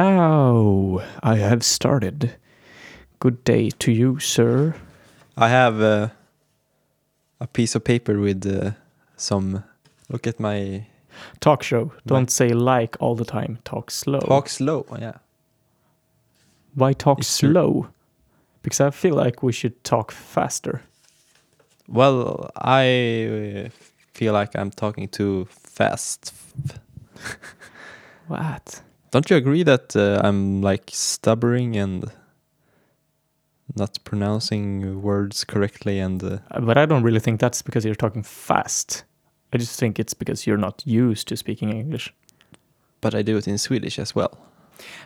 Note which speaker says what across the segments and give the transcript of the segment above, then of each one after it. Speaker 1: Now I have started. Good day to you, sir.
Speaker 2: I have uh, a piece of paper with uh, some. Look at my
Speaker 1: Talk show. Don't
Speaker 2: Right.
Speaker 1: say like all the time. Talk slow.
Speaker 2: talk slow. Yeah,
Speaker 1: Why talk
Speaker 2: It's true.
Speaker 1: slow? Because I feel like we should talk faster.
Speaker 2: Well, I uh, feel like I'm talking too fast.
Speaker 1: What?
Speaker 2: Don't you agree that uh, I'm like stuttering and not pronouncing words correctly? And uh,
Speaker 1: Uh, But I don't really think that's because you're talking fast. I just think it's because you're not used to speaking English.
Speaker 2: but I do it in Swedish as well.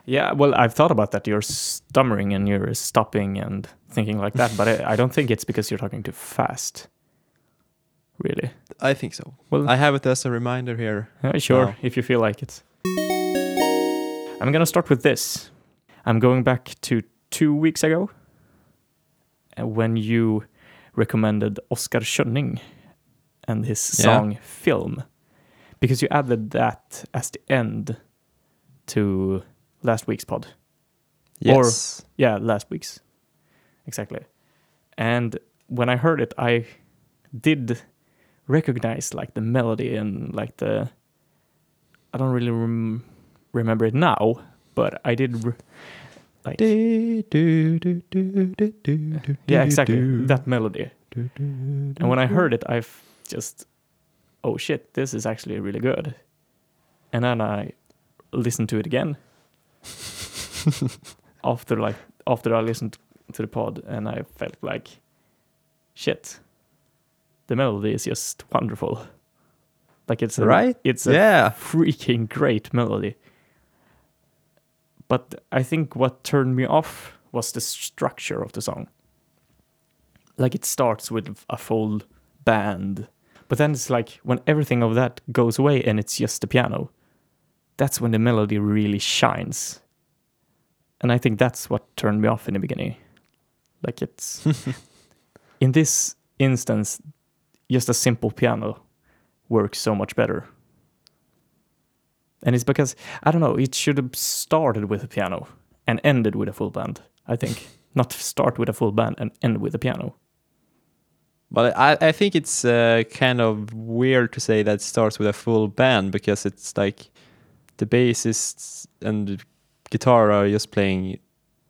Speaker 1: Yeah, well, I've thought about that. You're stammering and you're stopping and thinking like that, but I, I don't think it's because you're talking too fast. Really?
Speaker 2: I think so.
Speaker 1: Well-
Speaker 2: I have it as a reminder here.
Speaker 1: Yeah, sure,
Speaker 2: No.
Speaker 1: if you feel like it. I'm going to start with this. I'm going back to two weeks ago uh, when you recommended Oscar Schönning and his
Speaker 2: Yeah.
Speaker 1: song Film because you added that as the end to last week's pod. Or-
Speaker 2: Yes.
Speaker 1: Yeah, last week's. Exactly. And when I heard it, I did recognize like the melody and like the. I don't really rem- remember it now, but I did. Re- like yeah, exactly that melody. And when I
Speaker 2: Mm-hmm.
Speaker 1: heard it, I've just, oh shit, this is actually really good. And then I listened to it again after like after I listened to the pod, and I felt like, shit, the melody is just wonderful. Like it's a,
Speaker 2: right?
Speaker 1: It's a
Speaker 2: Yeah.
Speaker 1: freaking great melody. But I think what turned me off was the structure of the song. Like it starts with a full band, but then it's like when everything of that goes away and it's just the piano, that's when the melody really shines. And I think that's what turned me off in the beginning. Like it's in this instance, just a simple piano works so much better. And it's because I don't know, it should have started with a piano and ended with a full band, I think. Not start with a full band and end with a piano.
Speaker 2: But I, I think it's uh, kind of weird to say that it starts with a full band because it's like the bassist and the guitar are just playing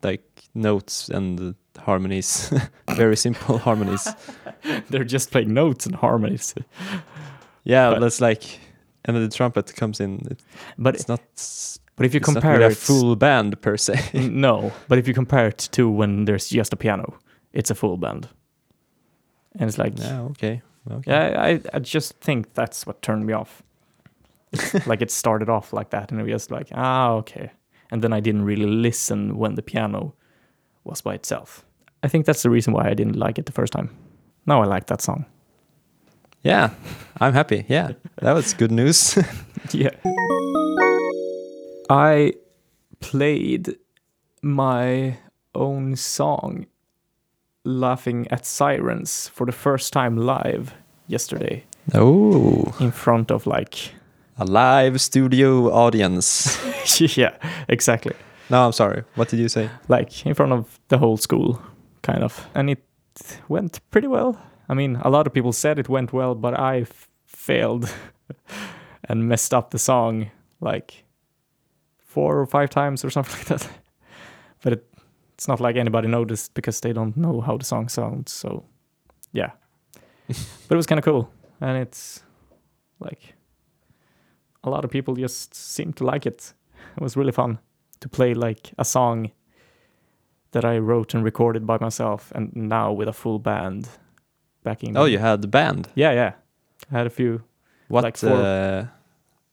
Speaker 2: like notes and harmonies, very simple harmonies.
Speaker 1: They're just playing notes and harmonies.
Speaker 2: Yeah,
Speaker 1: But-
Speaker 2: that's like, and then the trumpet comes in. It,
Speaker 1: But
Speaker 2: it's not. s-
Speaker 1: but if you
Speaker 2: it's not
Speaker 1: compare
Speaker 2: really
Speaker 1: it Mm,
Speaker 2: a full band per se.
Speaker 1: No, but if you compare it to when there's just a piano, it's a full band. And it's like
Speaker 2: yeah. Okay. Okay.
Speaker 1: Yeah, I, I just think that's what turned me off. It's like it started off like that, and it was just like, ah, okay. And then I didn't really listen when the piano was by itself. I think that's the reason why I didn't like it the first time. Now I like that song.
Speaker 2: Yeah, I'm happy. Yeah, that was good news.
Speaker 1: yeah. I played my own song, Laughing at Sirens, for the first time live yesterday
Speaker 2: oh,
Speaker 1: in front of like.
Speaker 2: a live studio audience.
Speaker 1: yeah, exactly.
Speaker 2: No, I'm sorry. What did you say?
Speaker 1: like in front of the whole school, kind of. And it went pretty well. I mean, a lot of people said it went well, but I f- failed and messed up the song like four or five times or something like that. But it, it's not like anybody noticed because they don't know how the song sounds. So, yeah. but it was kind of cool. And it's like a lot of people just seemed to like it. It was really fun to play like a song that I wrote and recorded by myself, and now with a full band backing.
Speaker 2: Oh,
Speaker 1: me.
Speaker 2: you had the band.
Speaker 1: yeah, yeah. I had a few,
Speaker 2: What
Speaker 1: Like four-
Speaker 2: uh,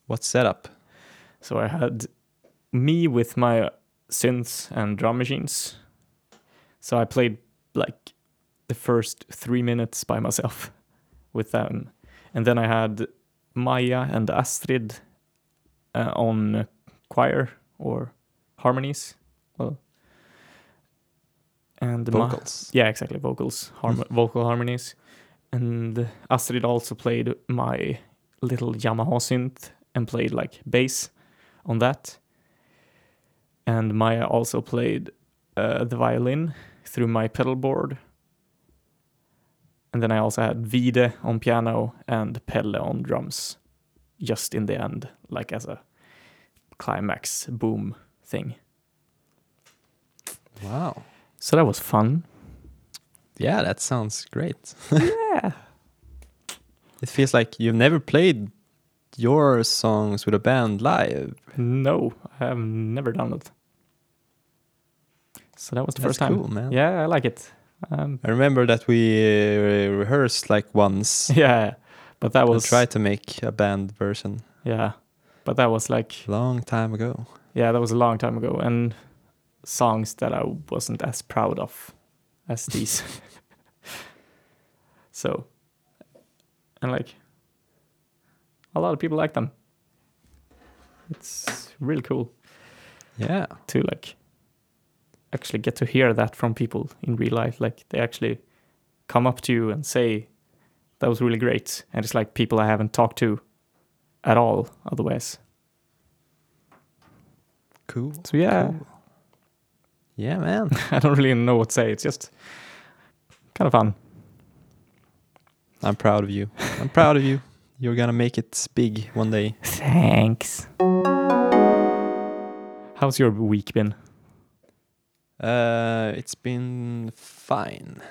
Speaker 2: what setup?
Speaker 1: so I had me with my synths and drum machines. So I played like the first three minutes by myself with them, and then I had Maya and Astrid uh, on choir or harmonies. Well, and Ma-
Speaker 2: Vocals.
Speaker 1: Yeah, exactly. Vocals, harm- vocal harmonies, and Astrid also played my little Yamaha synth and played like bass on that. and Maya also played uh, the violin through my pedal board. And then I also had Vide on piano and Pelle on drums, just in the end, like as a climax boom thing.
Speaker 2: Wow.
Speaker 1: So that was fun.
Speaker 2: Yeah, that sounds great.
Speaker 1: yeah.
Speaker 2: It feels like you've never played your songs with a band live.
Speaker 1: No, I have never done it. So that was the
Speaker 2: That's
Speaker 1: first time.
Speaker 2: cool, man.
Speaker 1: Yeah, I like it. Um,
Speaker 2: I remember that we uh, rehearsed like once.
Speaker 1: yeah, but that
Speaker 2: We'll
Speaker 1: was
Speaker 2: try to make a band version
Speaker 1: yeah, but that was like
Speaker 2: long time ago.
Speaker 1: yeah, that was a long time ago, and songs that I wasn't as proud of as these. so, and like a lot of people like them. It's really cool
Speaker 2: Yeah.
Speaker 1: to like actually get to hear that from people in real life. Like they actually come up to you and say, "That was really great," and it's like people I haven't talked to at all otherwise.
Speaker 2: Cool.
Speaker 1: So yeah.
Speaker 2: Cool. Yeah, man.
Speaker 1: I don't really know what to say. It's just kind of fun.
Speaker 2: I'm proud of you. I'm proud of you. You're gonna make it big one day.
Speaker 1: Thanks. How's your week been?
Speaker 2: Uh, it's been fine.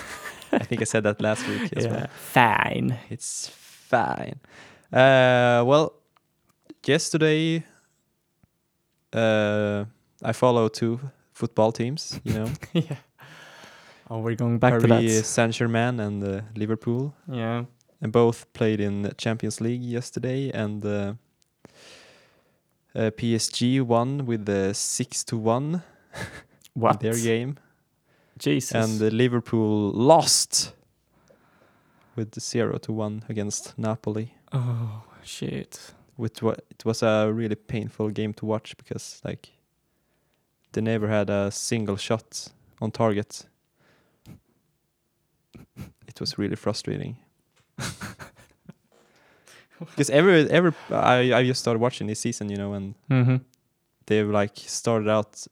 Speaker 2: I think I said that last week as well.
Speaker 1: Fine.
Speaker 2: It's fine. Uh, well, yesterday, uh, I follow two football teams. You know,
Speaker 1: yeah. Oh, we're going back to
Speaker 2: Paris
Speaker 1: that.
Speaker 2: Saint Germain and uh, Liverpool,
Speaker 1: Yeah.
Speaker 2: and both played in the Champions League yesterday. And uh, uh, PSG won with the six to one
Speaker 1: What?
Speaker 2: their game,
Speaker 1: Jesus.
Speaker 2: and uh, Liverpool lost with the zero to one against Napoli.
Speaker 1: oh shit.
Speaker 2: which wa- it was a really painful game to watch because like they never had a single shot on target. It was really frustrating. Because every every I I just started watching this season, you know, and
Speaker 1: Mm-hmm.
Speaker 2: they've like started out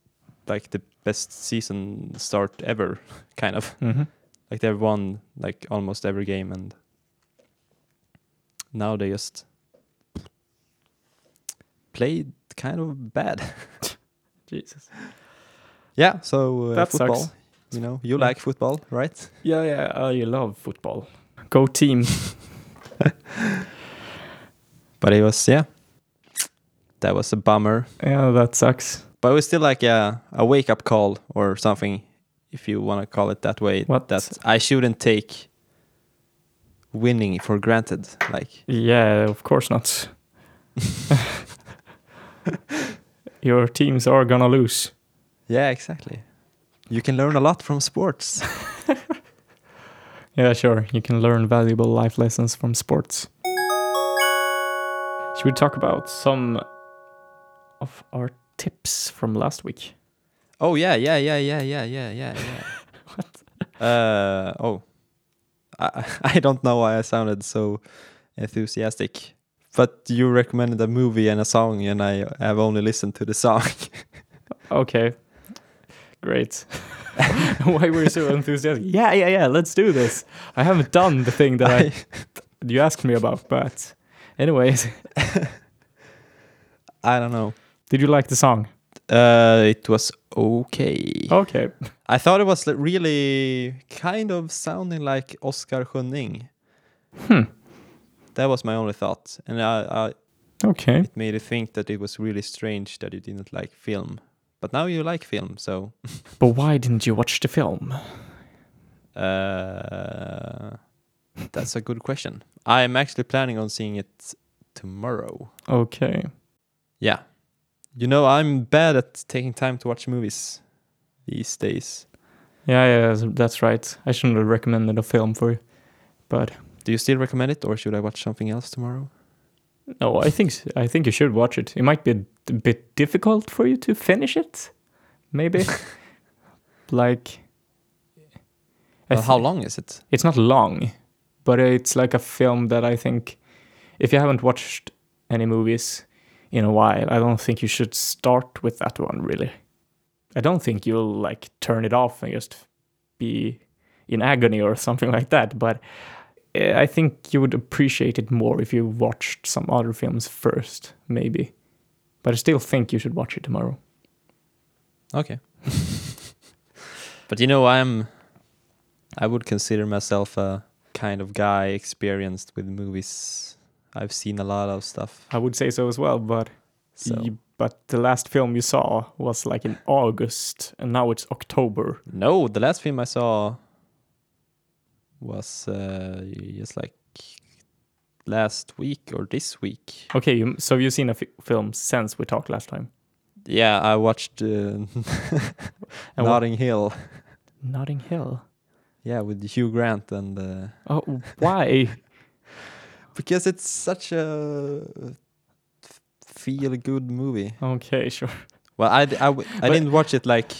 Speaker 2: like the best season start ever, kind of
Speaker 1: Mm-hmm.
Speaker 2: like they've won like almost every game and now they just played kind of bad
Speaker 1: Jesus.
Speaker 2: yeah so uh,
Speaker 1: That
Speaker 2: football
Speaker 1: sucks.
Speaker 2: you know you
Speaker 1: Yeah.
Speaker 2: like football right
Speaker 1: Yeah, yeah. I love football. Go team.
Speaker 2: but it was yeah that was a bummer
Speaker 1: yeah, that sucks.
Speaker 2: but it was still like a, a wake-up call or something if you want to call it that way
Speaker 1: What?
Speaker 2: that i shouldn't take winning for granted like
Speaker 1: Yeah, of course not. Your teams are gonna lose.
Speaker 2: yeah exactly you can learn a lot from sports
Speaker 1: Yeah, sure. You can learn valuable life lessons from sports. Should we talk about some of our tips from last week?
Speaker 2: Oh yeah, yeah, yeah, yeah, yeah, yeah, yeah, yeah. what? Uh oh. I I don't know why I sounded so enthusiastic. But you recommended a movie and a song and I have only listened to the song.
Speaker 1: Okay. Great. Why were you so enthusiastic? Yeah, yeah, yeah. Let's do this. I haven't done the thing that I, you asked me about, but anyways,
Speaker 2: I don't know.
Speaker 1: did you like the song?
Speaker 2: Uh it was okay.
Speaker 1: Okay.
Speaker 2: I thought it was li- really kind of sounding like Oscar Schönning.
Speaker 1: Hmm.
Speaker 2: That was my only thought. And I, I
Speaker 1: Okay.
Speaker 2: it made you think that it was really strange that you didn't like film. But now you like film, so
Speaker 1: But why didn't you watch the film?
Speaker 2: Uh, that's a good question. I'm actually planning on seeing it tomorrow.
Speaker 1: Okay.
Speaker 2: Yeah. You know, I'm bad at taking time to watch movies these days.
Speaker 1: Yeah, yeah, that's- that's right. I shouldn't have recommended a film for you, but
Speaker 2: Do you still recommend it or should I watch something else tomorrow?
Speaker 1: No, I think s- I think you should watch it. It might be a d- bit difficult for you to finish it, maybe. like, I
Speaker 2: Uh, how
Speaker 1: thi-
Speaker 2: long is it?
Speaker 1: It's not long, but it's like a film that I think, if you haven't watched any movies, in a while, I don't think you should start with that one really. I don't think you'll like turn it off and just be in agony or something like that, but eh, I think you would appreciate it more if you watched some other films first, maybe. But I still think you should watch it tomorrow.
Speaker 2: Okay. but you know, I'm. I would consider myself a kind of guy experienced with movies. I've seen a lot of stuff.
Speaker 1: I would say so as well, but
Speaker 2: So
Speaker 1: y- but the last film you saw was like in August and now it's October.
Speaker 2: no, the last film I saw was uh, just like last week or this week.
Speaker 1: Okay, you, so you've seen a fi- film since we talked last time.
Speaker 2: Yeah, I watched uh,
Speaker 1: And what-
Speaker 2: Notting Hill.
Speaker 1: Notting Hill.
Speaker 2: Yeah, with Hugh Grant and. Uh,
Speaker 1: Oh, why?
Speaker 2: because it's such a feel good movie.
Speaker 1: okay, sure.
Speaker 2: Well, I, d- I, w- I
Speaker 1: Oh. But-
Speaker 2: didn't watch it like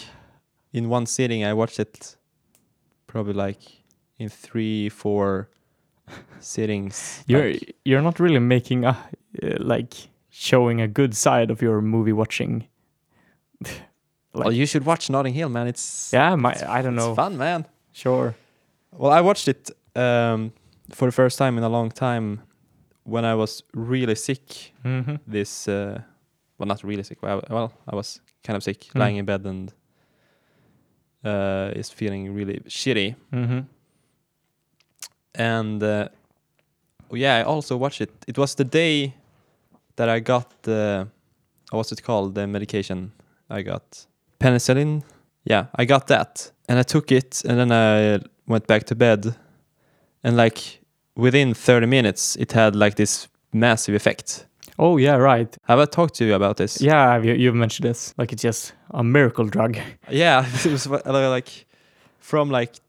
Speaker 2: in one sitting. I watched it probably like in three, four sittings.
Speaker 1: You're
Speaker 2: like-
Speaker 1: you're not really making a uh, like showing a good side of your movie watching.
Speaker 2: well, Oh, you should watch Notting Hill, man. It's
Speaker 1: Yeah, my I don't
Speaker 2: it's
Speaker 1: know.
Speaker 2: fun, man.
Speaker 1: Sure.
Speaker 2: Well, I watched it um, for the first time in a long time when I was really sick.
Speaker 1: hmm
Speaker 2: This, uh, well, not really sick. Well, I- well, I was kind of sick, lying in bed and uh, is feeling really shitty.
Speaker 1: hmm
Speaker 2: and uh, oh, yeah, I also watched it. It was the day that I got the uh, what's it called the medication I got penicillin. Yeah, I got that, and I took it, and then I went back to bed, and like within 30 minutes, it had like this massive effect.
Speaker 1: Oh yeah, right.
Speaker 2: Have I talked to you about this?
Speaker 1: Yeah, you you've mentioned this. Like it's just a miracle drug.
Speaker 2: yeah it was wha- like from like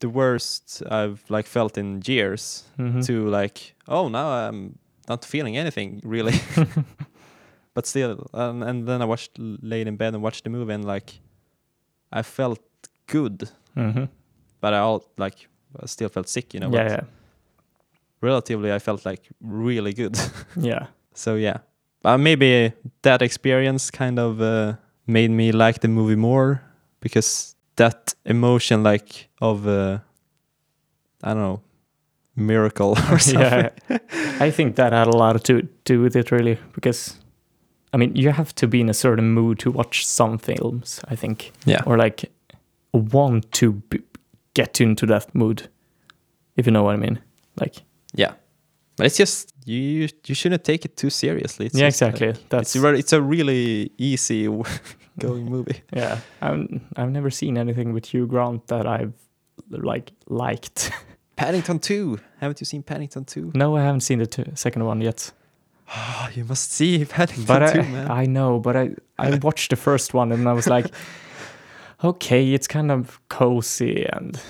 Speaker 2: the worst I've like felt in years.
Speaker 1: Mhm.
Speaker 2: to like, oh, now I'm not feeling anything really. but still, and, and then I watched, laid in bed and watched the movie, and like, I felt good,
Speaker 1: Mhm.
Speaker 2: but I all like I still felt sick, you know.
Speaker 1: yeah,
Speaker 2: but
Speaker 1: yeah,
Speaker 2: Relatively, I felt like really good.
Speaker 1: yeah.
Speaker 2: so yeah, uh, maybe that experience kind of uh, made me like the movie more because that emotion, like of, uh, I don't know, miracle or something.
Speaker 1: yeah, I think that had a lot to do with it, really, because I mean, you have to be in a certain mood to watch some films, I think,
Speaker 2: Yeah.
Speaker 1: or like want to b- get into that mood, if you know what I mean. Like,
Speaker 2: Yeah, but it's just you you, you shouldn't take it too seriously. It's
Speaker 1: yeah,
Speaker 2: just
Speaker 1: exactly.
Speaker 2: like-
Speaker 1: That's
Speaker 2: it's a, re- it's a really easy w- going movie.
Speaker 1: yeah. I'm, I've never seen anything with Hugh Grant that I've like liked.
Speaker 2: Paddington Two. Haven't you seen Paddington Two?
Speaker 1: no, I haven't seen the t- second one yet.
Speaker 2: Oh, you must see Paddington
Speaker 1: but I,
Speaker 2: Two, man.
Speaker 1: I know, but I, I watched the first one and I was like, okay, it's kind of cozy and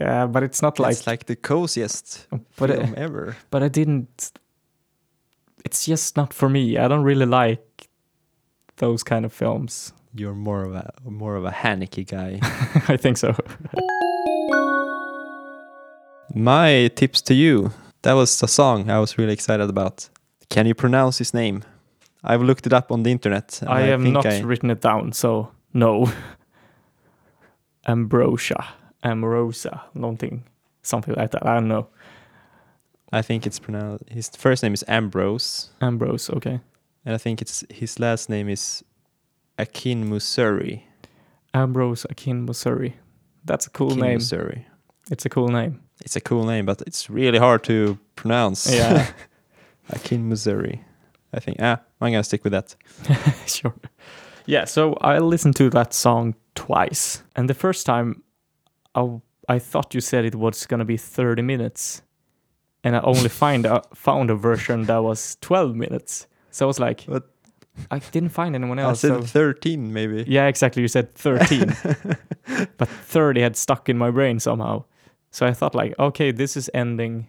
Speaker 1: yeah, but it's not like,
Speaker 2: it's like the coziest
Speaker 1: but
Speaker 2: film
Speaker 1: I,
Speaker 2: ever.
Speaker 1: but I didn't. It's just not for me. I don't really like those kind of films.
Speaker 2: You're more of a more of a Haneke guy.
Speaker 1: I think so.
Speaker 2: My tips to you. That was a song I was really excited about. Can you pronounce his name? I've looked it up on the internet. and
Speaker 1: I have
Speaker 2: think
Speaker 1: not
Speaker 2: I-
Speaker 1: written it down, so no. Ambrosia, Amorosa, something, something like that. I don't know.
Speaker 2: I think it's pronounced. His first name is Ambrose.
Speaker 1: Ambrose, okay.
Speaker 2: And I think it's his last name is Akin Musuri.
Speaker 1: Ambrose Akin Missouri. That's a cool
Speaker 2: Akin
Speaker 1: name.
Speaker 2: Musuri.
Speaker 1: It's a cool name.
Speaker 2: It's a cool name, but it's really hard to pronounce.
Speaker 1: Yeah,
Speaker 2: Akin Musuri. I think. Ah, I'm gonna stick with that.
Speaker 1: sure. Yeah, so I listened to that song twice. And the first time, I, w- I thought you said it was going to be 30 minutes. And I only find a, found a version that was 12 minutes. So I was like,
Speaker 2: What?
Speaker 1: I didn't find anyone
Speaker 2: I
Speaker 1: else.
Speaker 2: said
Speaker 1: so-
Speaker 2: 13, maybe.
Speaker 1: Yeah, exactly. You said 13. but 30 had stuck in my brain somehow. So I thought like, okay, this is ending.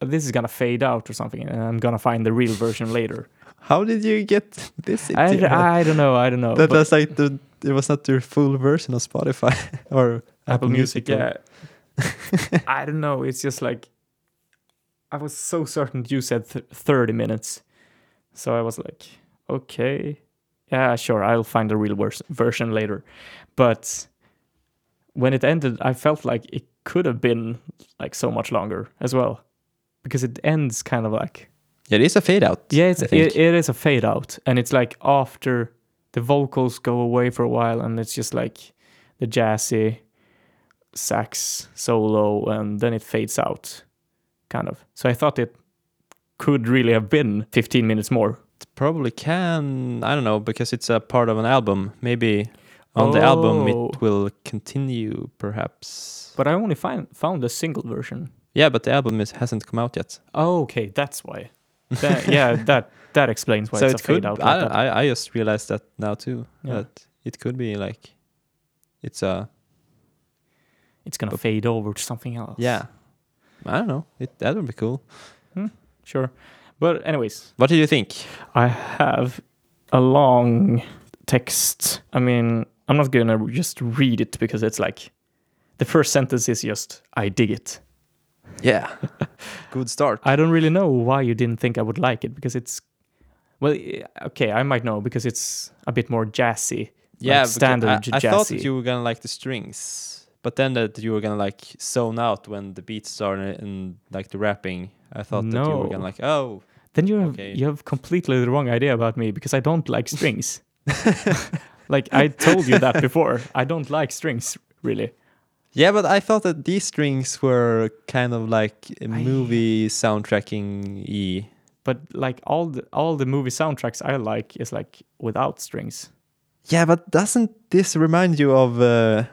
Speaker 1: This is going to fade out or something and I'm going to find the real version later.
Speaker 2: How did you get this?
Speaker 1: I,
Speaker 2: into your head?
Speaker 1: I don't know, I don't know.
Speaker 2: that
Speaker 1: but
Speaker 2: was like the. It was not your full version of Spotify or Apple, Music. or-
Speaker 1: yeah. I don't know, it's just like I was so certain you said th- 30 minutes. So I was like, okay, yeah, sure, I'll find a real wors- version later. But when it ended, I felt like it could have been like so much longer as well, because it ends kind of like
Speaker 2: It is a fade out.
Speaker 1: yeah, it's
Speaker 2: I think.
Speaker 1: it, it is a fade out, and it's like after the vocals go away for a while, and it's just like the jazzy sax solo, and then it fades out, kind of. So I thought it could really have been 15 minutes more.
Speaker 2: probably can. I don't know because it's a part of an album. Maybe on the album
Speaker 1: Oh.
Speaker 2: it will continue, perhaps.
Speaker 1: But I only find, found the single version.
Speaker 2: yeah, but the album is, hasn't come out yet,
Speaker 1: Oh, okay, that's why. That, yeah, that that explains why
Speaker 2: so
Speaker 1: it's
Speaker 2: it
Speaker 1: a fade
Speaker 2: could.
Speaker 1: out.
Speaker 2: I,
Speaker 1: Like that.
Speaker 2: I I just realized that now too.
Speaker 1: Yeah.
Speaker 2: That it could be like it's a
Speaker 1: It's gonna fade over to something else.
Speaker 2: yeah. I don't know. It, that would be cool.
Speaker 1: sure. But anyways,
Speaker 2: What do you think?
Speaker 1: I have a long text. I mean, I'm not gonna just read it because it's like the first sentence is just I dig it.
Speaker 2: Yeah, good start.
Speaker 1: I don't really know why you didn't think I would like it because it's well, eh, okay, I might know because it's a bit more jazzy.
Speaker 2: yeah,
Speaker 1: like
Speaker 2: because
Speaker 1: standard
Speaker 2: I, I thought
Speaker 1: jazzy.
Speaker 2: that you were gonna like the strings, but then that you were gonna like zone out when the beats started and like the rapping. I thought that you were
Speaker 1: No.
Speaker 2: gonna like oh
Speaker 1: Then you have
Speaker 2: Okay.
Speaker 1: you have completely the wrong idea about me because I don't like strings. like I told you that before. I don't like strings really.
Speaker 2: yeah, but I thought that these strings were kind of like a movie soundtracking e.
Speaker 1: But like all the all the movie soundtracks I like is like without strings.
Speaker 2: Yeah, but doesn't this remind you of uh,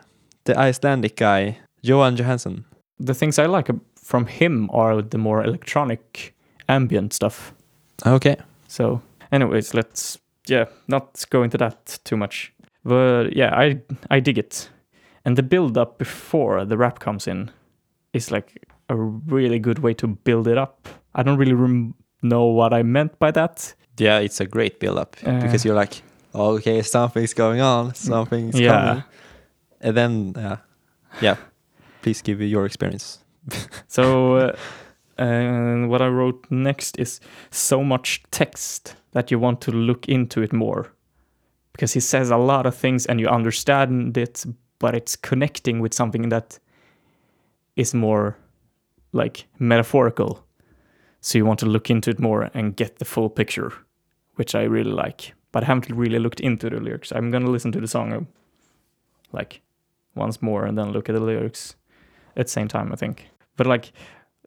Speaker 2: the Icelandic guy Johan Johansson?
Speaker 1: The things I like ab- from him are the more electronic ambient stuff.
Speaker 2: Okay.
Speaker 1: So anyways, let's yeah, not go into that too much. But yeah, I I dig it. And the build up before the rap comes in is like a really good way to build it up. I don't really rem- know what I meant by that.
Speaker 2: Yeah, it's a great build-up
Speaker 1: Uh.
Speaker 2: because you're like, okay, something's going on, something's
Speaker 1: yeah.
Speaker 2: coming. and then uh, yeah please give you your experience
Speaker 1: So, uh, and what I wrote next is so much text that you want to look into it more. Because he says a lot of things and you understand it, but it's connecting with something that is more like metaphorical. So you want to look into it more and get the full picture, which I really like. But I haven't really looked into the lyrics. I'm going to listen to the song uh, like once more and then look at the lyrics at the same time, I think but like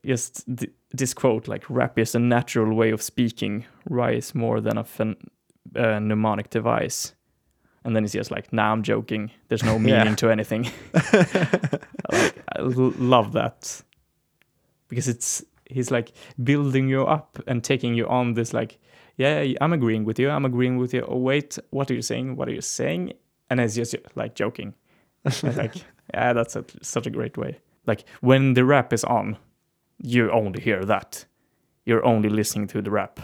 Speaker 1: just th- this quote like rap is a natural way of speaking rise more than a phen- uh, mnemonic device and then it's just like nah i'm joking there's no
Speaker 2: Yeah.
Speaker 1: meaning to anything like, i l- love that because it's he's like building you up and taking you on this like yeah i'm agreeing with you i'm agreeing with you oh wait what are you saying what are you saying and it's just like joking And, like yeah that's a, such a great way like when the rap is on you only hear that you're only listening to the rap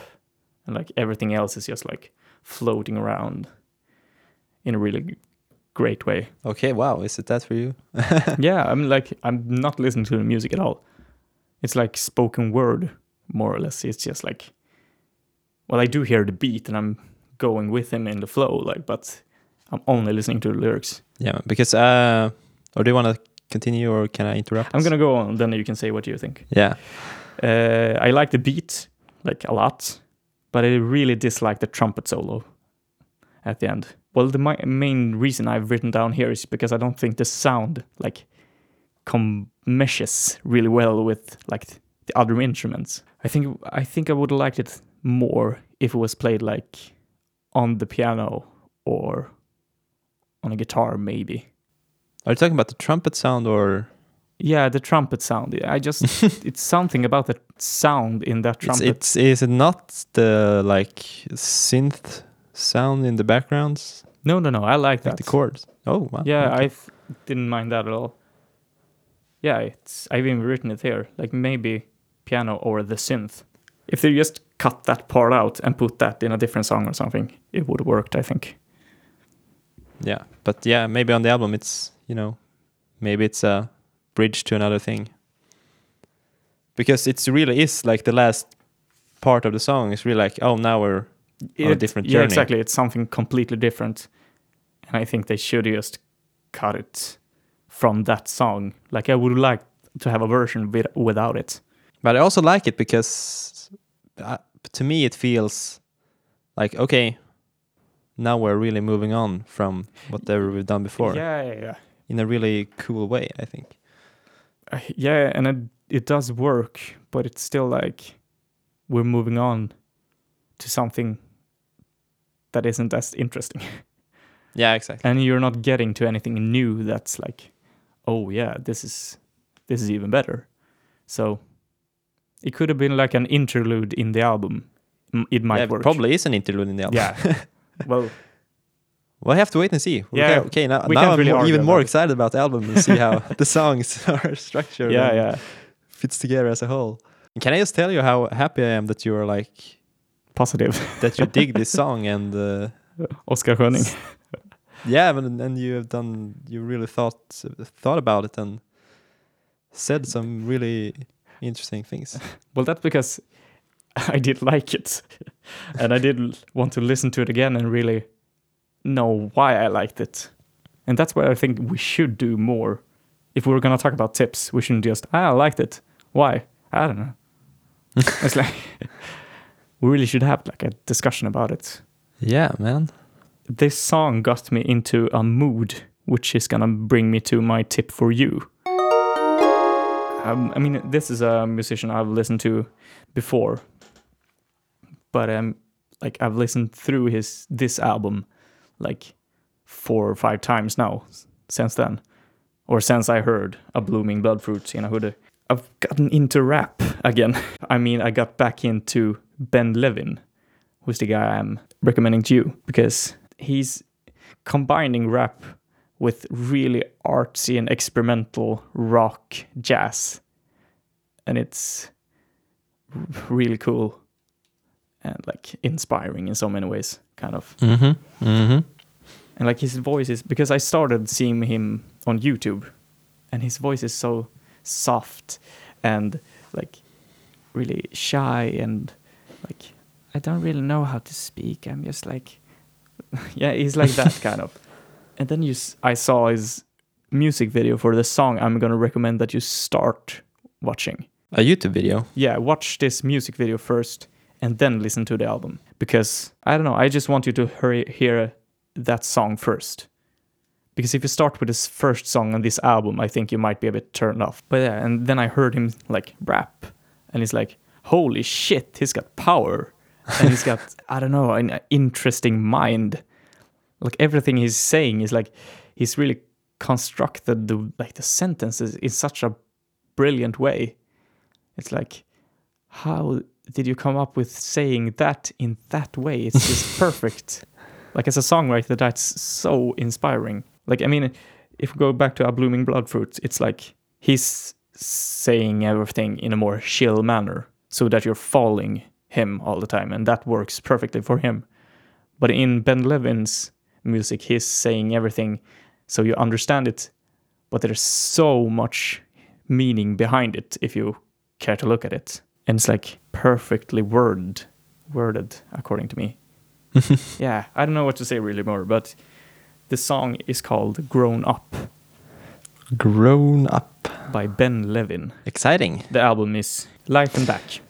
Speaker 1: and like everything else is just like floating around in a really g- great way
Speaker 2: okay wow is it that for you
Speaker 1: yeah i'm like i'm not listening to the music at all it's like spoken word more or less it's just like well i do hear the beat and i'm going with him in the flow like but i'm only listening to the lyrics
Speaker 2: yeah because uh or do you want to continue or can i interrupt
Speaker 1: i'm gonna go on then you can say what you think
Speaker 2: yeah
Speaker 1: Uh, I like the beat like a lot, but I really dislike the trumpet solo at the end. Well, the mi- main reason I've written down here is because I don't think the sound like com- meshes really well with like the other instruments. I think I think I would have liked it more if it was played like on the piano or on a guitar, maybe.
Speaker 2: are you talking about the trumpet sound or
Speaker 1: Yeah, the trumpet sound. I just it's something about the sound in that
Speaker 2: it's,
Speaker 1: trumpet.
Speaker 2: it's is it not the like synth sound in the backgrounds
Speaker 1: No, no, no. I like
Speaker 2: like
Speaker 1: that.
Speaker 2: the chords oh wow
Speaker 1: Yeah,
Speaker 2: okay.
Speaker 1: I th- didn't mind that at all. Yeah, it's I've even written it here. Like maybe piano or the synth. If they just cut that part out and put that in a different song or something, it would have worked, I think.
Speaker 2: yeah but yeah maybe on the album it's you know maybe it's a bridge to another thing because it's really is like the last part of the song is really like oh now we're on a different
Speaker 1: yeah,
Speaker 2: journey.
Speaker 1: exactly. It's something completely different, and I think they should just cut it from that song. Like I would like to have a version with, without it.
Speaker 2: But I also like it because uh, to me it feels like okay, now we're really moving on from whatever we've done before
Speaker 1: Yeah, yeah, yeah.
Speaker 2: in a really cool way. I think.
Speaker 1: Uh, yeah, and it, it does work, but it's still like we're moving on to something that isn't as interesting.
Speaker 2: Yeah, exactly.
Speaker 1: and you're not getting to anything new that's like oh yeah this is this is even better so it could have been like an interlude in the album M- it might
Speaker 2: Yeah,
Speaker 1: work
Speaker 2: probably is an interlude in the album.
Speaker 1: yeah well
Speaker 2: We'll have to wait and see. We
Speaker 1: Yeah,
Speaker 2: ca- okay, now,
Speaker 1: we
Speaker 2: now
Speaker 1: can't
Speaker 2: I'm
Speaker 1: really
Speaker 2: more-
Speaker 1: argue
Speaker 2: even
Speaker 1: about
Speaker 2: more
Speaker 1: it.
Speaker 2: excited about the album and see how the songs are structured
Speaker 1: yeah
Speaker 2: and
Speaker 1: yeah
Speaker 2: fits together as a whole. Can I just tell you how happy I am that you are like
Speaker 1: positive
Speaker 2: that you dig this song and uh,
Speaker 1: oscar Schöning.
Speaker 2: yeah, but, and you have done you really thought thought about it and said some really interesting things.
Speaker 1: well that's because i did like it and i did l- want to listen to it again and really know why i liked it and that's what i think we should do more if we were going to talk about tips we shouldn't just ah, i liked it why i don't know it's like we really should have like a discussion about it
Speaker 2: Yeah, man.
Speaker 1: this song got me into a mood, which is gonna bring me to my tip for you. Um, I mean, this is a musician I've listened to before, but um, like I've listened through his this album like four or five times now s- since then, or since I heard a blooming blood fruit in a hoodie. I've gotten into rap again. I mean, I got back into Ben Levin, who's the guy I'm recommending to you because he's combining rap with really artsy and experimental rock jazz and it's r- really cool and like inspiring in so many ways kind of
Speaker 2: Mm-hmm. Mm-hmm.
Speaker 1: and like his voice is because I started seeing him on YouTube, and his voice is so soft and like really shy and like I don't really know how to speak. I'm just like yeah, he's like that kind of. And then you, s- I saw his music video for the song I'm gonna recommend that you start watching
Speaker 2: A YouTube video.
Speaker 1: yeah, watch this music video first and then listen to the album because I don't know, I just want you to hurry, hear that song first. Because if you start with this first song on this album, I think you might be a bit turned off. But yeah, and then I heard him like rap and he's like, holy shit, he's got power. And he's got, I don't know, an interesting mind. Like everything he's saying is like, he's really constructed the like the sentences in such a brilliant way. It's like, how did you come up with saying that in that way? It's just perfect. Like as a songwriter, that's so inspiring. Like I mean, if we go back to our blooming blood fruit, it's like he's saying everything in a more chill manner, so that you're following him all the time, and that works perfectly for him. But in Ben Levin's music, he's saying everything, so you understand it, but there's so much meaning behind it if you care to look at it. And it's like perfectly worded, worded according to me. yeah, I don't know what to say really more, but the song is called "Grown Up"
Speaker 2: Grown up.
Speaker 1: by Ben Levin.
Speaker 2: Exciting.
Speaker 1: The album is "Life and Back."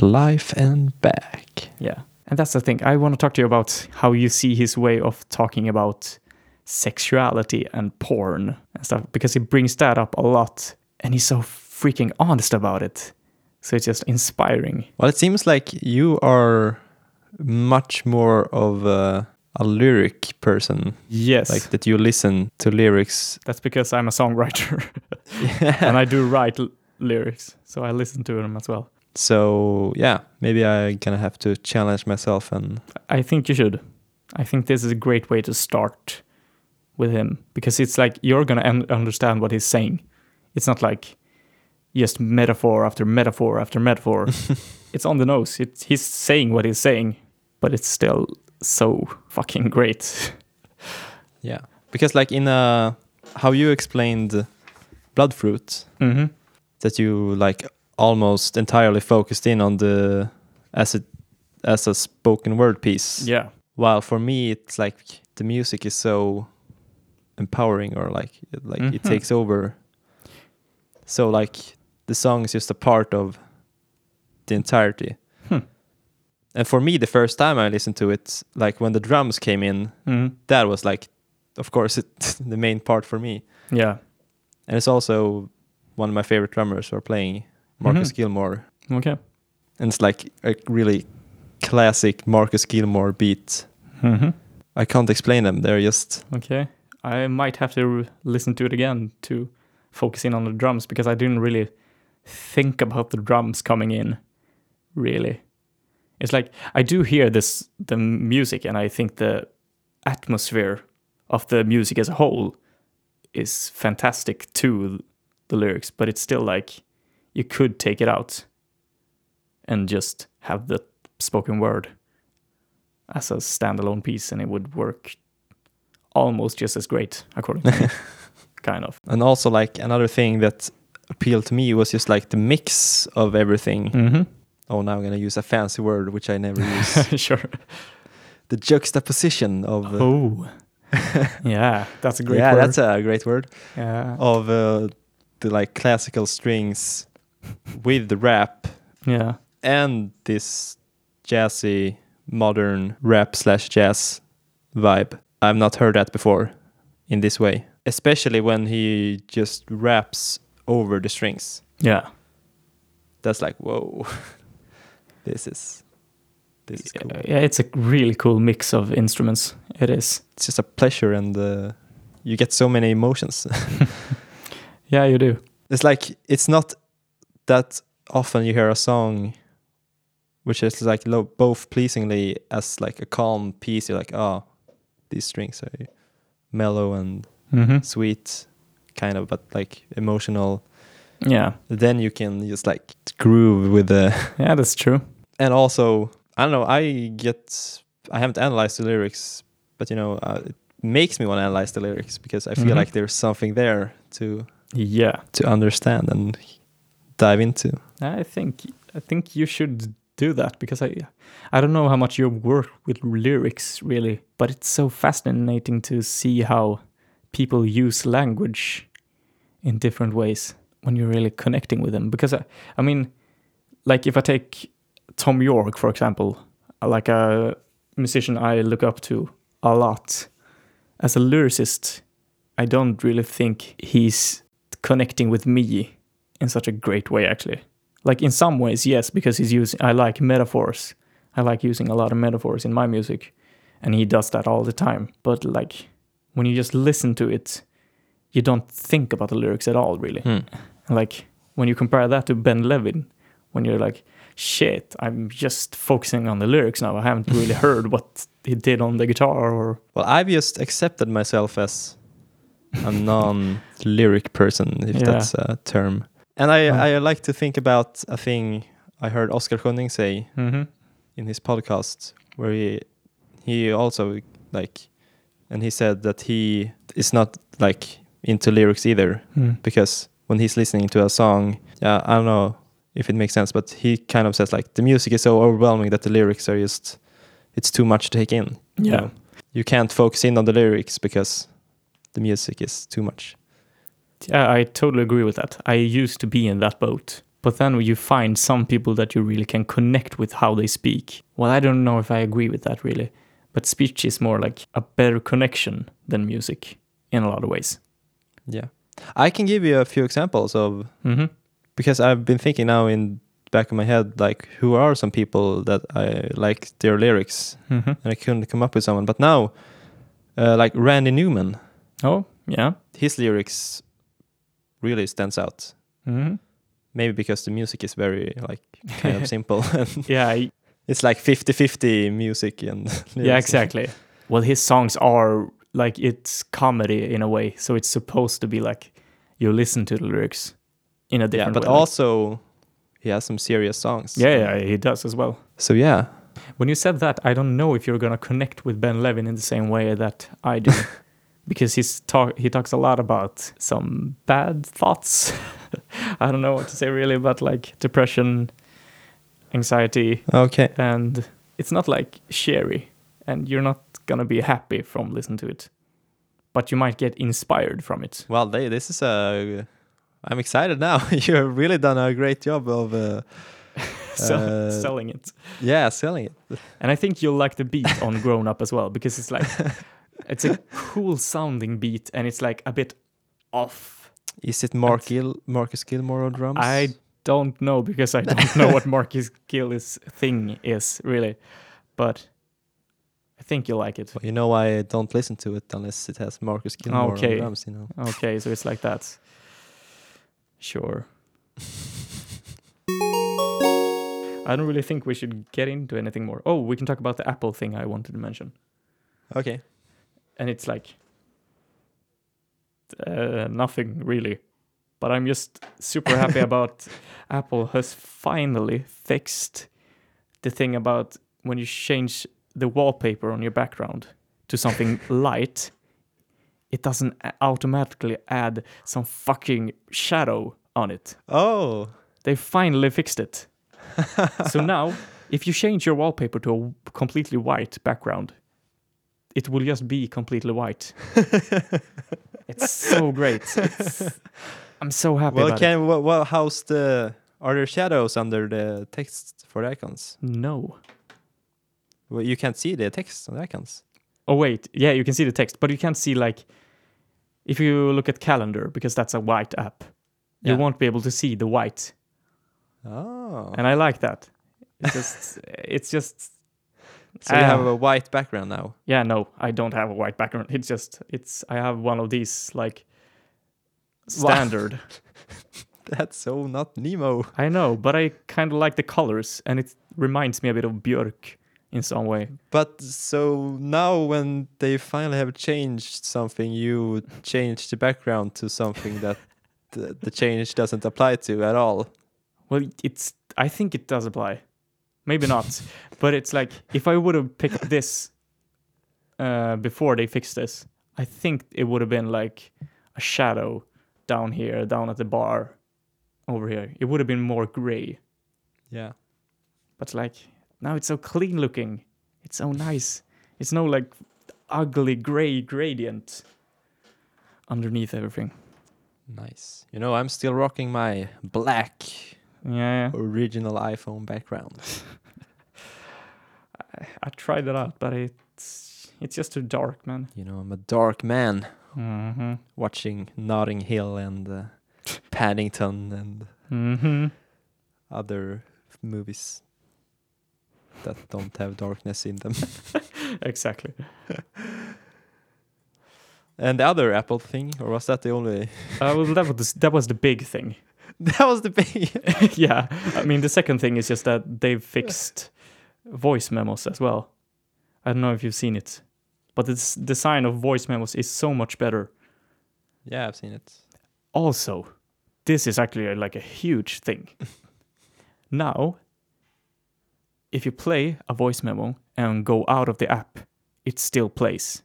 Speaker 2: Life and back.
Speaker 1: Yeah, and that's the thing. I want to talk to you about how you see his way of talking about sexuality and porn and stuff because he brings that up a lot, and he's so freaking honest about it. So it's just inspiring.
Speaker 2: Well, it seems like you are much more of a, a lyric person,
Speaker 1: Yes.
Speaker 2: like that you listen to lyrics.
Speaker 1: That's because I'm a songwriter and I do write l- lyrics, so I listen to them as well.
Speaker 2: So yeah, maybe I gonna have to challenge myself and
Speaker 1: I think you should. I think this is a great way to start with him because it's like you're gonna un- understand what he's saying. It's not like just metaphor after metaphor after metaphor. it's on the nose. It's, he's saying what he's saying, but it's still so fucking great.
Speaker 2: yeah, because like in a how you explained blood fruit
Speaker 1: hmm
Speaker 2: that you like almost entirely focused in on the acid as a spoken word piece.
Speaker 1: Yeah.
Speaker 2: While for me, it's like the music is so empowering, or like like it
Speaker 1: Mhm.
Speaker 2: takes over. So like the song is just a part of the entirety.
Speaker 1: Hmm.
Speaker 2: And for me, the first time I listened to it, like when the drums came in,
Speaker 1: Mhm.
Speaker 2: that was like, of course, it, the main part for me.
Speaker 1: Yeah.
Speaker 2: And it's also one of my favorite drummers who are playing, Marcus
Speaker 1: Mhm.
Speaker 2: Gilmore.
Speaker 1: Okay.
Speaker 2: And it's like a really classic Marcus Gilmore beat.
Speaker 1: Mhm.
Speaker 2: I can't explain them. They're just
Speaker 1: Okay. I might have to re- listen to it again to focus in on the drums because I didn't really think about the drums coming in. Really. It's like I do hear this the music and I think the atmosphere of the music as a whole is fantastic to the lyrics, but it's still like you could take it out and just have the spoken word as a standalone piece and it would work almost just as great, according to me. kind of.
Speaker 2: and also like another thing that appealed to me was just like the mix of everything.
Speaker 1: Mm-hmm.
Speaker 2: Oh, now I'm gonna use a fancy word which I never use.
Speaker 1: sure.
Speaker 2: the juxtaposition of uh,
Speaker 1: Oh. yeah, that's a great
Speaker 2: yeah,
Speaker 1: word.
Speaker 2: that's a great word
Speaker 1: yeah.
Speaker 2: of uh, the like classical strings with the rap
Speaker 1: yeah.
Speaker 2: and this jazzy modern rap slash jazz vibe. I've not heard that before in this way, especially when he just raps over the strings.
Speaker 1: Yeah.
Speaker 2: That's like whoa, this is this is cool.
Speaker 1: Yeah, it's a really cool mix of instruments. It is.
Speaker 2: It's just a pleasure, and uh, you get so many emotions.
Speaker 1: Yeah, you do.
Speaker 2: it's like it's not that often you hear a song which is like lo- both pleasingly as like a calm piece you're like oh these strings are mellow and
Speaker 1: Mm-hmm.
Speaker 2: sweet kind of but like emotional
Speaker 1: Yeah.
Speaker 2: then you can just like groove with the
Speaker 1: Yeah, that's true.
Speaker 2: and also i don't know i get i haven't analyzed the lyrics but you know uh, it makes me want to analyze the lyrics because i feel
Speaker 1: Mhm.
Speaker 2: like there's something there to
Speaker 1: Yeah.
Speaker 2: to understand and dive into
Speaker 1: I think I think you should do that because I I don't know how much you work with lyrics really, but it's so fascinating to see how people use language in different ways when you're really connecting with them. Because I, I mean, like if I take Tom York for example, uh, like a musician I look up to a lot, as a lyricist, I don't really think he's connecting with me in such a great way actually like in some ways yes because he's using i like metaphors i like using a lot of metaphors in my music and he does that all the time but like when you just listen to it you don't think about the lyrics at all really And, like when you compare that to ben levin when you're like shit i'm just focusing on the lyrics now i haven't really heard what he did on the guitar or
Speaker 2: Well, I've just accepted myself as a non-lyric person, if
Speaker 1: Yeah.
Speaker 2: that's a term. And I,
Speaker 1: Mm.
Speaker 2: I like to think about a thing I heard Oscar Schöning say in his podcast, where he he also like, and he said that he is not like into lyrics either,
Speaker 1: Hmm.
Speaker 2: because when he's listening to a song, yeah, I don't know if it makes sense, but he kind of says like the music is so overwhelming that the lyrics are just it's too much to take in
Speaker 1: yeah
Speaker 2: know, you can't focus in on the lyrics because the music is too much.
Speaker 1: Yeah, I totally agree with that. I used to be in that boat. But then you find some people that you really can connect with how they speak. Well, I don't know if I agree with that really. But speech is more like a better connection than music in a lot of ways.
Speaker 2: Yeah. I can give you a few examples of
Speaker 1: hmm
Speaker 2: because I've been thinking now in back of my head like who are some people that I like their lyrics
Speaker 1: hmm
Speaker 2: and I couldn't come up with someone but now uh, like Randy Newman
Speaker 1: Oh, yeah.
Speaker 2: his lyrics really stands out
Speaker 1: hmm
Speaker 2: maybe because the music is very like kind of simple and
Speaker 1: Yeah, I-
Speaker 2: it's like 50-50 music and
Speaker 1: yeah,
Speaker 2: lyrics.
Speaker 1: exactly. Well, his songs are like it's comedy in a way, so it's supposed to be like you listen to the lyrics in a different
Speaker 2: yeah but
Speaker 1: way. like-
Speaker 2: also he has some serious songs
Speaker 1: yeah, yeah, he does as well.
Speaker 2: So yeah,
Speaker 1: When you said that, I don't know if you're gonna connect with Ben Levin in the same way that I do, because he's talk he talks a lot about some bad thoughts. I don't know what to say really, but like depression, anxiety,
Speaker 2: okay.
Speaker 1: and it's not like sherry, and you're not gonna be happy from listening to it, but you might get inspired from it.
Speaker 2: Well, they, this is a. I'm excited now. you have really done a great job of. Uh,
Speaker 1: So,
Speaker 2: Uh,
Speaker 1: selling it,
Speaker 2: yeah, selling it.
Speaker 1: and I think you'll like the beat on Grown Up as well because it's like it's a cool sounding beat, and it's like a bit off.
Speaker 2: Is it Mark Gil, Marcus Gilmore on drums?
Speaker 1: I don't know because I don't know what Marcus Gill's thing is really, but I think you'll like it.
Speaker 2: Well, you know, I don't listen to it unless it has Marcus Gilmore
Speaker 1: Okay.
Speaker 2: on drums. You know.
Speaker 1: Okay, so it's like that. Sure. I don't really think we should get into anything more. Oh, we can talk about the Apple thing I wanted to mention.
Speaker 2: Okay.
Speaker 1: And it's like uh, nothing really. But I'm just super happy about Apple has finally fixed the thing about when you change the wallpaper on your background to something light, it doesn't a- automatically add some fucking shadow on it.
Speaker 2: Oh.
Speaker 1: They finally fixed it. so now, if you change your wallpaper to a w- completely white background, it will just be completely white. it's so great. It's, I'm so happy
Speaker 2: Well,
Speaker 1: about it.
Speaker 2: can well, well, how's the are there shadows under the text for the icons?
Speaker 1: No.
Speaker 2: Well, you can't see the text on the icons.
Speaker 1: Oh wait, yeah, you can see the text, but you can't see like if you look at calendar because that's a white app.
Speaker 2: Yeah.
Speaker 1: You won't be able to see the white,
Speaker 2: Oh.
Speaker 1: and I like that. It's just, it's just,
Speaker 2: so you Um, have
Speaker 1: Ah.
Speaker 2: a white background now.
Speaker 1: yeah, no, I don't have a white background. It's just, it's, I have one of these like
Speaker 2: Wow.
Speaker 1: standard.
Speaker 2: That's so not Nemo.
Speaker 1: I know, but I kind of like the colors, and it reminds me a bit of Björk in some way.
Speaker 2: But so now when they finally have changed something, you change the background to something that the, the change doesn't apply to at all.
Speaker 1: Well, it's. I think it does apply. Maybe not, but it's like if I would have picked this uh, before they fixed this, I think it would have been like a shadow down here, down at the bar, over here. It would have been more gray,
Speaker 2: Yeah.
Speaker 1: but like now it's so clean looking. It's so nice. It's no like ugly gray gradient underneath everything.
Speaker 2: Nice. You know, I'm still rocking my black
Speaker 1: Yeah, yeah.
Speaker 2: original iPhone background.
Speaker 1: I, I tried it out, but it's it's just too dark, man.
Speaker 2: You know, I'm a dark man.
Speaker 1: Mm-hmm.
Speaker 2: watching Notting Hill and uh, Paddington and
Speaker 1: Mm-hmm.
Speaker 2: other movies that don't have darkness in them.
Speaker 1: Exactly.
Speaker 2: and the other Apple thing, or was that the only?
Speaker 1: Uh, well, that was that was the big thing.
Speaker 2: that was the big.
Speaker 1: yeah, I mean the second thing is just that they've fixed voice memos as well. I don't know if you've seen it, but the s- design of voice memos is so much better.
Speaker 2: yeah, I've seen it.
Speaker 1: Also, this is actually uh, like a huge thing. now, if you play a voice memo and go out of the app, it still plays.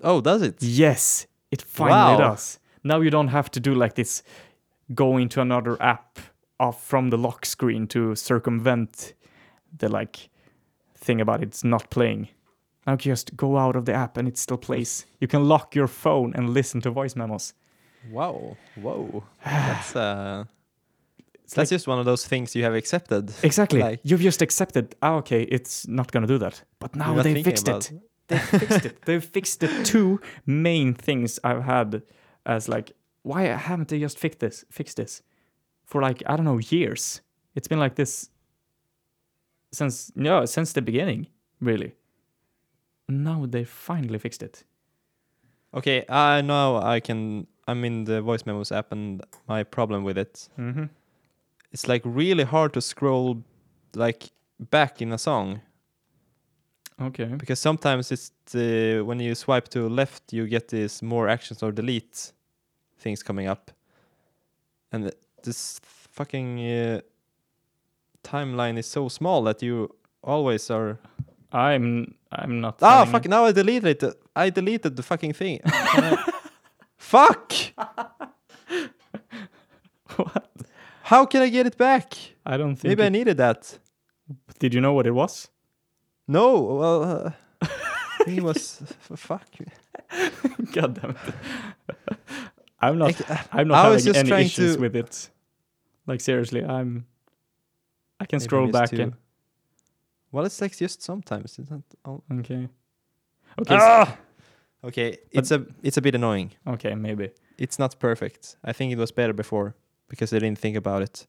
Speaker 2: Oh, does it?
Speaker 1: Yes, it finally
Speaker 2: Wow.
Speaker 1: does. Now you don't have to do like this go into another app off from the lock screen to circumvent the like thing about it's not playing. Now you just go out of the app and it still plays. You can lock your phone and listen to voice memos.
Speaker 2: Wow, whoa, that's uh,
Speaker 1: It's
Speaker 2: that's
Speaker 1: like-
Speaker 2: just one of those things you have accepted.
Speaker 1: exactly.
Speaker 2: like-
Speaker 1: You've just accepted, ah, okay, it's not going to do that. But
Speaker 2: You're
Speaker 1: now
Speaker 2: not
Speaker 1: they
Speaker 2: thinking
Speaker 1: fixed
Speaker 2: about-
Speaker 1: it. They fixed it. They fixed the two main things I've had as like, why haven't they just fixed this? Fixed this for like I don't know years. It's been like this since no since the beginning, really. Now they finally fixed it.
Speaker 2: Okay, I know I can. I'm in the voice memos app, and my problem with it
Speaker 1: Mm-hmm.
Speaker 2: it's like really hard to scroll like back in a song
Speaker 1: Okay.
Speaker 2: because sometimes it's uh, when you swipe to left you get these more actions or delete things coming up and th- this fucking uh, timeline is so small that you always are
Speaker 1: I'm I'm not.
Speaker 2: ah
Speaker 1: planning-
Speaker 2: fuck now i deleted it i deleted the fucking thing Can I- fuck
Speaker 1: What?
Speaker 2: how can i get it back
Speaker 1: I don't think.
Speaker 2: maybe i
Speaker 1: it-
Speaker 2: needed that
Speaker 1: Did you know what it was?
Speaker 2: No, well, uh, he was uh, f- fuck.
Speaker 1: God damn it. I'm not.
Speaker 2: I, ca-
Speaker 1: I'm not
Speaker 2: I was
Speaker 1: having
Speaker 2: just
Speaker 1: any
Speaker 2: trying
Speaker 1: issues
Speaker 2: to-
Speaker 1: with it. Like seriously, I'm. I can
Speaker 2: Maybe
Speaker 1: scroll back
Speaker 2: there's two.
Speaker 1: and
Speaker 2: well, it's like just sometimes. It's not all...
Speaker 1: okay. Okay. s-
Speaker 2: Ah! Okay, it's a it's a bit annoying.
Speaker 1: Okay, maybe.
Speaker 2: It's not perfect. I think it was better before because they didn't think about it.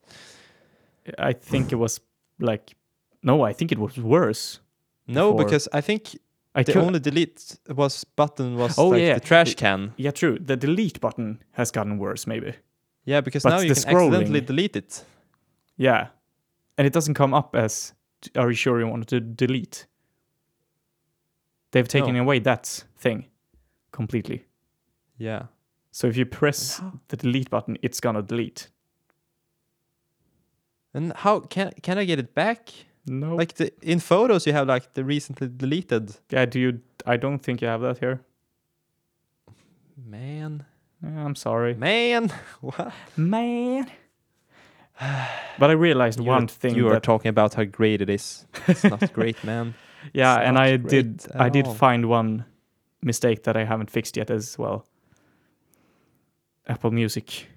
Speaker 1: I think it was like, no, I think it was worse.
Speaker 2: No,
Speaker 1: Before.
Speaker 2: because I think
Speaker 1: I
Speaker 2: the
Speaker 1: could,
Speaker 2: only delete was button was
Speaker 1: Oh,
Speaker 2: like
Speaker 1: yeah.
Speaker 2: the trash can.
Speaker 1: yeah, true. The delete button has gotten worse, maybe.
Speaker 2: Yeah, because
Speaker 1: But
Speaker 2: now you
Speaker 1: the
Speaker 2: can accidentally
Speaker 1: scrolling.
Speaker 2: delete it.
Speaker 1: Yeah, and it doesn't come up as, "D- are you sure you wanted to delete? They've taken
Speaker 2: No.
Speaker 1: away that thing completely.
Speaker 2: Yeah.
Speaker 1: So if you press the delete button, it's gonna delete.
Speaker 2: And how can can I get it back?
Speaker 1: No, like
Speaker 2: Like the in photos you have like the recently deleted.
Speaker 1: yeah, do you? I don't think you have that here.
Speaker 2: Man.
Speaker 1: Yeah, I'm sorry,
Speaker 2: Man. What?
Speaker 1: man. But I realized
Speaker 2: You
Speaker 1: one
Speaker 2: are-
Speaker 1: thing
Speaker 2: you
Speaker 1: that
Speaker 2: are talking about how great it is. It's not great, man.
Speaker 1: Yeah,
Speaker 2: It's
Speaker 1: and
Speaker 2: not
Speaker 1: I
Speaker 2: great
Speaker 1: did
Speaker 2: at
Speaker 1: I did
Speaker 2: all.
Speaker 1: find one mistake that I haven't fixed yet as well. Apple Music.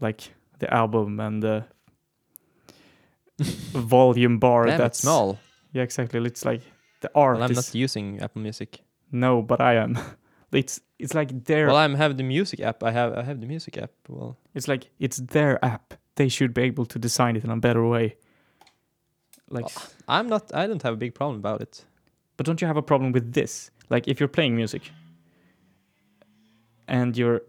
Speaker 1: Like the album and the volume bar
Speaker 2: Damn,
Speaker 1: that's
Speaker 2: it's small.
Speaker 1: Yeah, exactly. It's like the art
Speaker 2: Well, I'm
Speaker 1: is
Speaker 2: not using Apple Music.
Speaker 1: no, but I am. It's it's like their
Speaker 2: Well, I'm have the music app. I have I have the music app. Well,
Speaker 1: it's like it's their app. They should be able to design it in a better way. Like
Speaker 2: Well, I'm not. I don't have a big problem about it.
Speaker 1: But don't you have a problem with this? Like if you're playing music and you're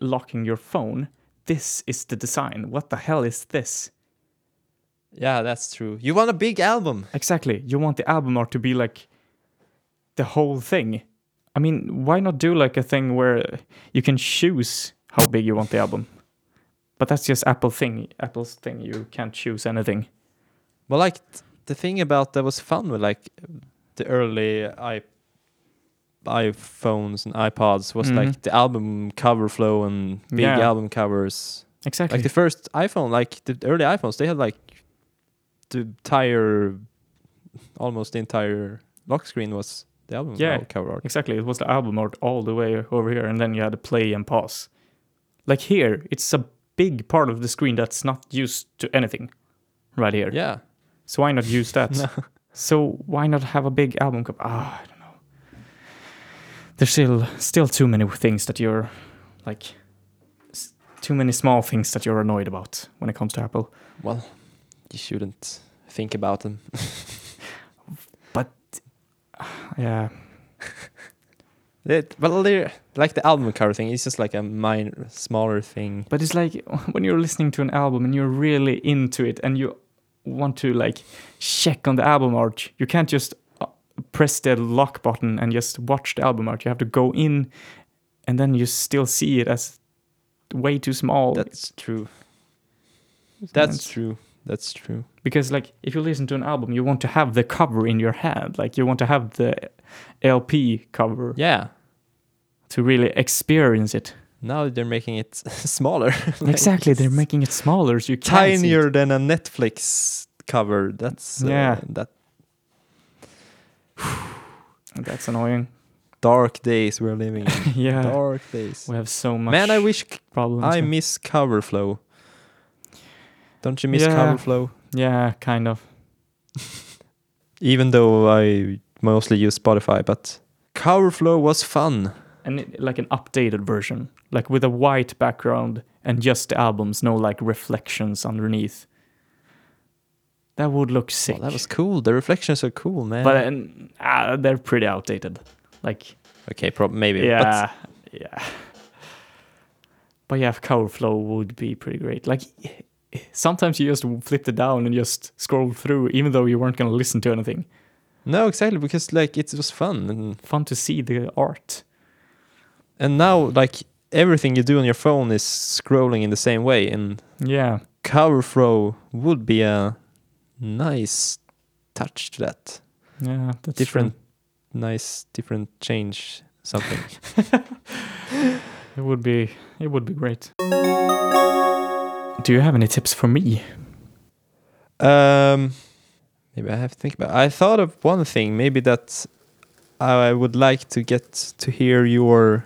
Speaker 1: locking your phone, this is the design. What the hell is this?
Speaker 2: Yeah, that's true. You want a big album?
Speaker 1: Exactly. You want the album art to be like the whole thing. I mean, why not do like a thing where you can choose how big you want the album? But that's just Apple thing, Apple's thing. You can't choose anything.
Speaker 2: Well, like th- the thing about that was fun with like the early i iPhones and iPods was
Speaker 1: Mhm.
Speaker 2: like the album cover flow and big
Speaker 1: Yeah.
Speaker 2: album covers.
Speaker 1: Exactly.
Speaker 2: Like the first iPhone, like the early iPhones, they had like the entire, almost the entire lock screen was the album
Speaker 1: Yeah.
Speaker 2: al- cover art.
Speaker 1: Exactly, it was the album art all the way over here, and then you had to play and pause. Like here, it's a big part of the screen that's not used to anything, right here.
Speaker 2: Yeah,
Speaker 1: So why not use that?
Speaker 2: No.
Speaker 1: So why not have a big album cover? Ah, I don't know. There's still still too many things that you're like, s- too many small things that you're annoyed about when it comes to Apple.
Speaker 2: well, you shouldn't think about them.
Speaker 1: Yeah,
Speaker 2: It, well, they're like the album cover thing. It's just like a minor, smaller thing.
Speaker 1: But it's like when you're listening to an album and you're really into it and you want to like check on the album art, you can't just uh, press the lock button and just watch the album art. You have to go in and then you still see it as way too small.
Speaker 2: That's true.
Speaker 1: It's-
Speaker 2: That's true. That's true.
Speaker 1: because like if you listen to an album, you want to have the cover in your hand. Like you want to have the LP cover
Speaker 2: Yeah.
Speaker 1: to really experience it.
Speaker 2: Now they're making it smaller. Like,
Speaker 1: exactly, they're
Speaker 2: it's
Speaker 1: making it smaller so you can see it.
Speaker 2: tinier than a Netflix cover. That's uh,
Speaker 1: Yeah.
Speaker 2: That
Speaker 1: That's annoying.
Speaker 2: dark days we're living in.
Speaker 1: yeah,
Speaker 2: dark days.
Speaker 1: we have so much.
Speaker 2: Man, I wish c-
Speaker 1: problems.
Speaker 2: I
Speaker 1: with-
Speaker 2: miss cover flow. Don't you miss
Speaker 1: Yeah.
Speaker 2: cover flow?
Speaker 1: yeah, kind of.
Speaker 2: Even though I mostly use Spotify, but cover flow was fun.
Speaker 1: And it, like an updated version, like with a white background and just the albums, no like reflections underneath. That would look sick.
Speaker 2: Well, that was cool. The reflections are cool, man.
Speaker 1: But and, ah, they're pretty outdated. Like
Speaker 2: okay, prob- maybe. but
Speaker 1: yeah, yeah. But yeah, cover flow would be pretty great. Like sometimes you just flip it down and just scroll through, even though you weren't gonna listen to anything.
Speaker 2: No, exactly, because like it was fun, and
Speaker 1: Fun to see the art.
Speaker 2: and now like everything you do on your phone is scrolling in the same way, and
Speaker 1: Yeah.
Speaker 2: cover throw would be a nice touch to that.
Speaker 1: Yeah, that's true.
Speaker 2: different, nice, different change something.
Speaker 1: It would be it would be great. Do you have any tips for me?
Speaker 2: um, Maybe I have to think about. I thought of one thing. Maybe that I would like to get to hear your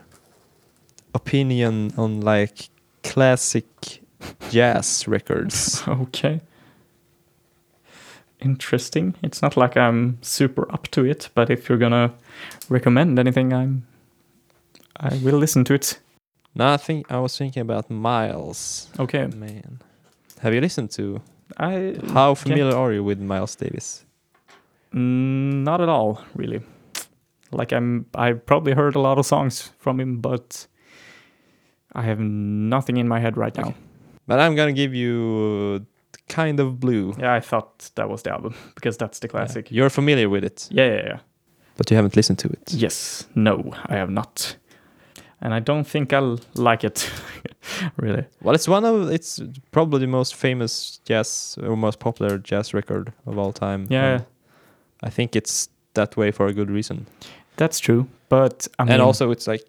Speaker 2: opinion on like classic jazz records.
Speaker 1: Okay. Interesting. It's not like I'm super up to it, but if you're gonna recommend anything, I'm I will listen to it.
Speaker 2: No, I think I was thinking about Miles.
Speaker 1: Okay.
Speaker 2: Man, have you listened to?
Speaker 1: I
Speaker 2: How familiar are you with Miles Davis?
Speaker 1: Mm, not at all, really. Like I'm, I probably heard a lot of songs from him, but I have nothing in my head right now.
Speaker 2: But I'm gonna give you uh, kind of blue.
Speaker 1: Yeah, I thought that was the album because that's the
Speaker 2: Yeah.
Speaker 1: classic.
Speaker 2: You're familiar with it,
Speaker 1: Yeah, yeah, yeah.
Speaker 2: but you haven't listened to it.
Speaker 1: Yes, no, I have not, and I don't think I'll like it, really.
Speaker 2: Well, it's one of it's probably the most famous jazz or most popular jazz record of all time.
Speaker 1: Yeah.
Speaker 2: and I think it's that way for a good reason.
Speaker 1: That's true, but I mean,
Speaker 2: and also, it's like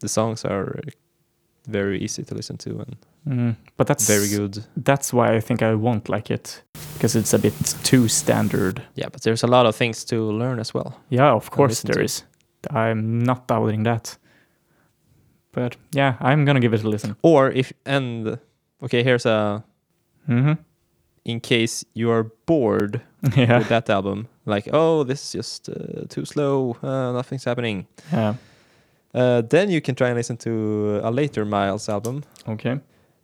Speaker 2: the songs are very easy to listen to and
Speaker 1: Mm, but that's
Speaker 2: very good.
Speaker 1: That's why I think I won't like it because it's a bit too standard.
Speaker 2: Yeah, but there's a lot of things to learn as well.
Speaker 1: Yeah, of course
Speaker 2: listen
Speaker 1: there
Speaker 2: to it.
Speaker 1: is. I'm not doubting that. But yeah, I'm gonna give it a listen.
Speaker 2: Or if and okay, here's a
Speaker 1: hmm
Speaker 2: Mm-hmm. in case you are bored
Speaker 1: Yeah,
Speaker 2: with that album, like oh, this is just uh, too slow, uh, nothing's happening.
Speaker 1: yeah.
Speaker 2: Uh, then you can try and listen to a later Miles album,
Speaker 1: Okay.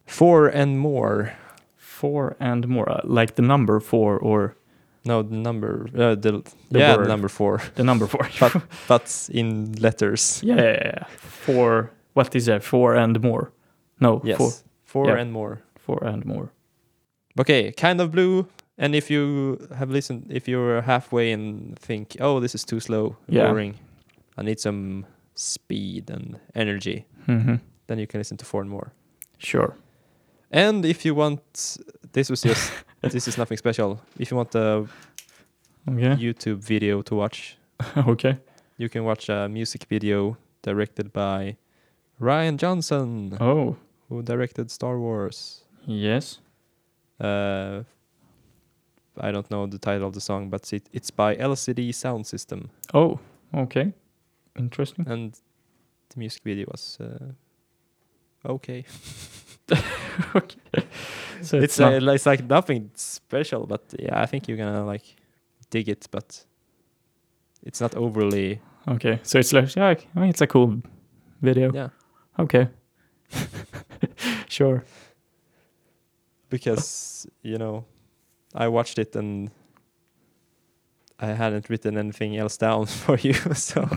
Speaker 2: Four and More.
Speaker 1: Four and more, uh, like the number four or
Speaker 2: No, the number, uh, the,
Speaker 1: The
Speaker 2: yeah, the
Speaker 1: word.
Speaker 2: number four,
Speaker 1: the number four.
Speaker 2: but but in letters.
Speaker 1: yeah, yeah, yeah. Four. What is that? Four and more. No,
Speaker 2: Yes,
Speaker 1: four.
Speaker 2: Four,
Speaker 1: Yeah.
Speaker 2: and More.
Speaker 1: Four and more.
Speaker 2: Okay, kind of blue. And if you have listened, if you're halfway and think, oh, this is too slow,
Speaker 1: Yeah.
Speaker 2: boring, I need some speed and energy,
Speaker 1: Mm-hmm.
Speaker 2: then you can listen to Four and More.
Speaker 1: Sure.
Speaker 2: And if you want, this was just, this is nothing special. If you want a
Speaker 1: Okay.
Speaker 2: YouTube video to watch,
Speaker 1: okay.
Speaker 2: you can watch a music video directed by Ryan Johnson,
Speaker 1: Oh,
Speaker 2: who directed Star Wars.
Speaker 1: yes.
Speaker 2: Uh, I don't know the title of the song, but it, it's by LCD Sound System,
Speaker 1: Oh, okay. Interesting.
Speaker 2: and the music video was uh, okay.
Speaker 1: So
Speaker 2: It's
Speaker 1: not-
Speaker 2: uh, like, it's like nothing special, but yeah, I think you're gonna like dig it, but it's not overly
Speaker 1: Okay, so it's like, yeah, I mean, it's a cool video.
Speaker 2: yeah
Speaker 1: Okay. sure.
Speaker 2: because you know I watched it and I hadn't written anything else down for you, so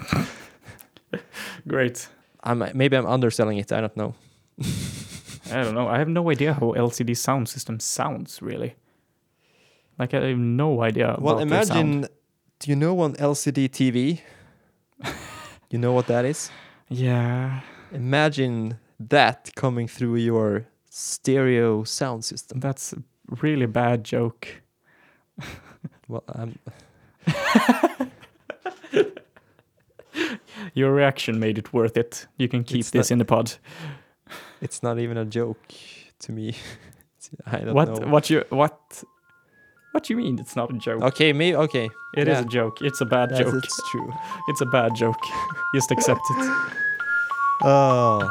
Speaker 1: Great.
Speaker 2: I'm maybe I'm underselling it. I don't know.
Speaker 1: I don't know. I have no idea how LCD sound system sounds, really. Like, I have no idea.
Speaker 2: well,
Speaker 1: about their sound.
Speaker 2: imagine. Do you know on LCD TV? you know what that is?
Speaker 1: Yeah,
Speaker 2: Imagine that coming through your stereo sound system.
Speaker 1: that's a really bad joke.
Speaker 2: Well, um, I'm,
Speaker 1: Your reaction made it worth it. You can keep
Speaker 2: It's
Speaker 1: this
Speaker 2: not-
Speaker 1: in the pod.
Speaker 2: it's not even a joke to me. I don't
Speaker 1: What?
Speaker 2: know.
Speaker 1: What you? What? What you mean? It's not a joke.
Speaker 2: Okay, me. Okay,
Speaker 1: It is
Speaker 2: yeah.
Speaker 1: a joke. It's a bad
Speaker 2: that's
Speaker 1: joke.
Speaker 2: it's true.
Speaker 1: It's a bad joke. Just accept it.
Speaker 2: Oh.